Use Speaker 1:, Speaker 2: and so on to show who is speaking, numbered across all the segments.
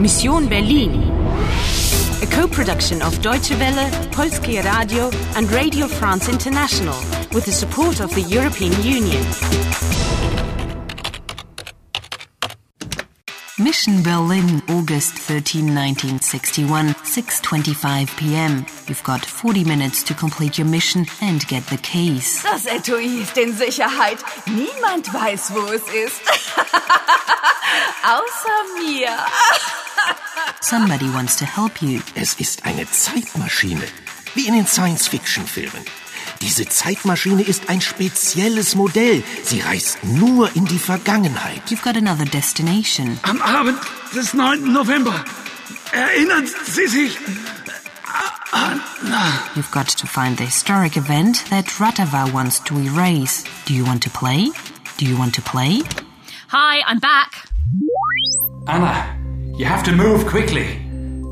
Speaker 1: Mission Berlin. A co-production of Deutsche Welle, Polskie Radio and Radio France International with the support of the European Union.
Speaker 2: Mission Berlin, August 13, 1961, 6.25 p.m. You've got 40 minutes to complete your mission and get the keys.
Speaker 3: Das Etui ist in Sicherheit. Niemand weiß, wo es ist. Außer mir.
Speaker 2: Somebody wants to help you.
Speaker 4: Es ist eine Zeitmaschine, wie in den Science-Fiction-Filmen. Diese Zeitmaschine ist ein spezielles Modell. Sie reist nur in die Vergangenheit.
Speaker 2: You've got another destination.
Speaker 5: Am Abend des 9. November. Erinnern Sie sich an...
Speaker 2: You've got to find the historic event that Ratava wants to erase. Do you want to play? Do you want to play?
Speaker 6: Hi, I'm back.
Speaker 7: Anna, you have to move quickly.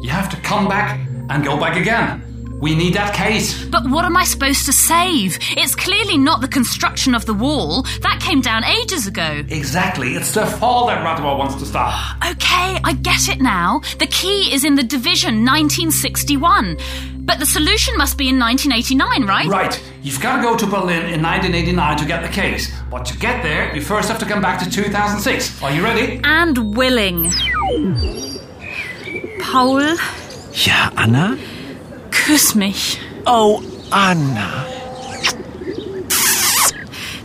Speaker 7: You have to come back and go back again. We need that case.
Speaker 6: But what am I supposed to save? It's clearly not the construction of the wall. That came down ages ago.
Speaker 7: Exactly. It's the fall that Radwa wants to stop.
Speaker 6: Okay, I get it now. The key is in the division 1961. But the solution must be in 1989, right?
Speaker 7: Right. You've got to go to Berlin in 1989 to get the case. But to get there, you first have to come back to 2006. Are you ready?
Speaker 6: And willing. Paul,
Speaker 4: Ja, Anna?
Speaker 6: küss mich.
Speaker 4: Oh, Anna.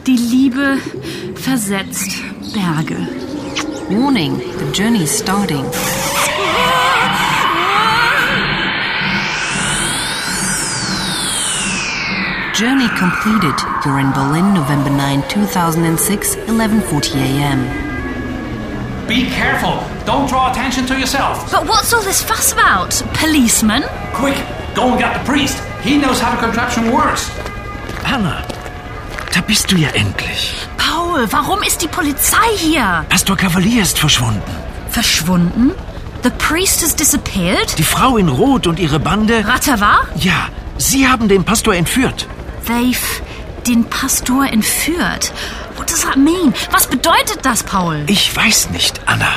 Speaker 6: Die Liebe versetzt Berge.
Speaker 2: Warning, the journey's starting. Journey completed. You're in Berlin, November 9, 2006, 11:40 a.m.
Speaker 7: Be careful. Don't draw attention to yourself.
Speaker 6: But what's all this fuss about? Policeman?
Speaker 7: Quick, go and get the priest. He knows how the contraption works.
Speaker 4: Anna, da bist du ja endlich.
Speaker 6: Paul, warum ist die Polizei hier?
Speaker 4: Pastor Cavalier ist verschwunden.
Speaker 6: Verschwunden? The priest has disappeared?
Speaker 4: Die Frau in Rot und ihre Bande...
Speaker 6: Ratava?
Speaker 4: Ja, sie haben den Pastor entführt.
Speaker 6: They've den Pastor entführt. What does that mean? Was bedeutet das, Paul?
Speaker 4: Ich weiß nicht, Anna.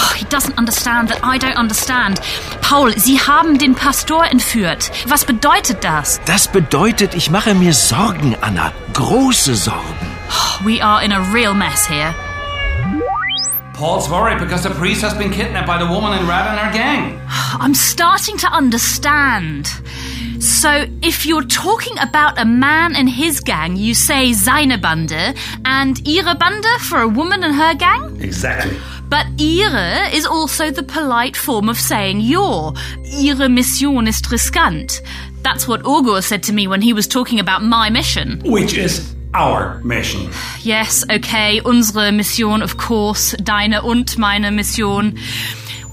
Speaker 6: Oh, he doesn't understand that I don't understand. Paul, Sie haben den Pastor entführt. Was bedeutet das?
Speaker 4: Das bedeutet, ich mache mir Sorgen, Anna. Große Sorgen.
Speaker 6: We are in a real mess here.
Speaker 7: Paul's worried because the priest has been kidnapped by the woman in red and her gang.
Speaker 6: I'm starting to understand. So, if you're talking about a man and his gang, you say seine Bande and ihre Bande for a woman and her gang?
Speaker 7: Exactly.
Speaker 6: But ihre is also the polite form of saying your. Ihre Mission ist riskant. That's what Orgor said to me when he was talking about my mission.
Speaker 7: Which is our mission.
Speaker 6: Yes, okay, unsere Mission, of course, deine und meine Mission.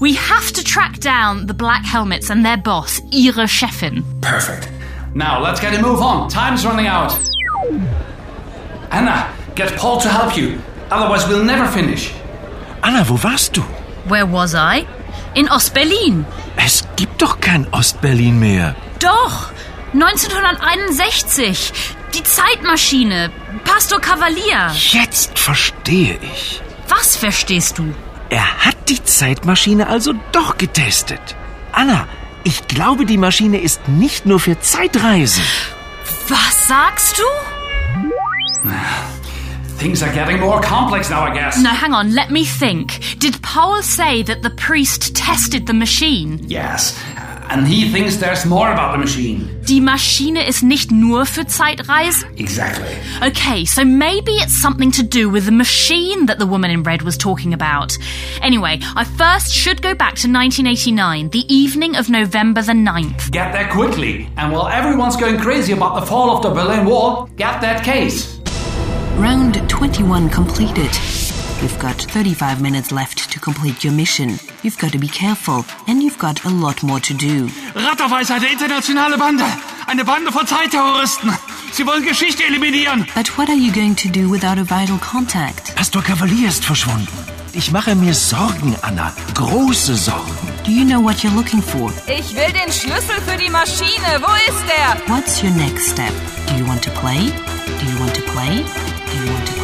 Speaker 6: We have to track down the Black Helmets and their boss, ihre Chefin.
Speaker 7: Perfect. Now let's get a move on. Time's running out. Anna, get Paul to help you. Otherwise, we'll never finish.
Speaker 4: Anna, wo warst du?
Speaker 6: Where was I? In Ostberlin.
Speaker 4: Es gibt doch kein Ostberlin mehr.
Speaker 6: Doch, 1961. Die Zeitmaschine. Pastor Cavalier.
Speaker 4: Jetzt verstehe ich.
Speaker 6: Was verstehst du?
Speaker 4: Er hat die Zeitmaschine also doch getestet. Anna, ich glaube, die Maschine ist nicht nur für Zeitreisen.
Speaker 6: Was sagst du?
Speaker 7: Things are getting more complex now, I guess.
Speaker 6: No, hang on, let me think. Did Paul say that the priest tested the machine?
Speaker 7: Yes. And he thinks there's more about the machine.
Speaker 6: Die Maschine ist nicht nur für Zeitreisen?
Speaker 7: Exactly.
Speaker 6: Okay, so maybe it's something to do with the machine that the woman in red was talking about. Anyway, I first should go back to 1989, the evening of November the 9th.
Speaker 7: Get there quickly. And while everyone's going crazy about the fall of the Berlin Wall, get that case.
Speaker 2: Round 21 completed. You've got 35 minutes left to complete your mission. You've got to be careful, and you've got a lot more to do.
Speaker 5: Ratterfall ist eine internationale Bande. Eine Bande von Zeitterroristen. Sie wollen Geschichte eliminieren.
Speaker 2: But what are you going to do without a vital contact?
Speaker 4: Pastor Cavalier ist verschwunden. Ich mache mir Sorgen, Anna. Große Sorgen.
Speaker 2: Do you know what you're looking for?
Speaker 3: Ich will den Schlüssel für die Maschine. Wo ist er?
Speaker 2: What's your next step? Do you want to play? Do you want to play? Do you want to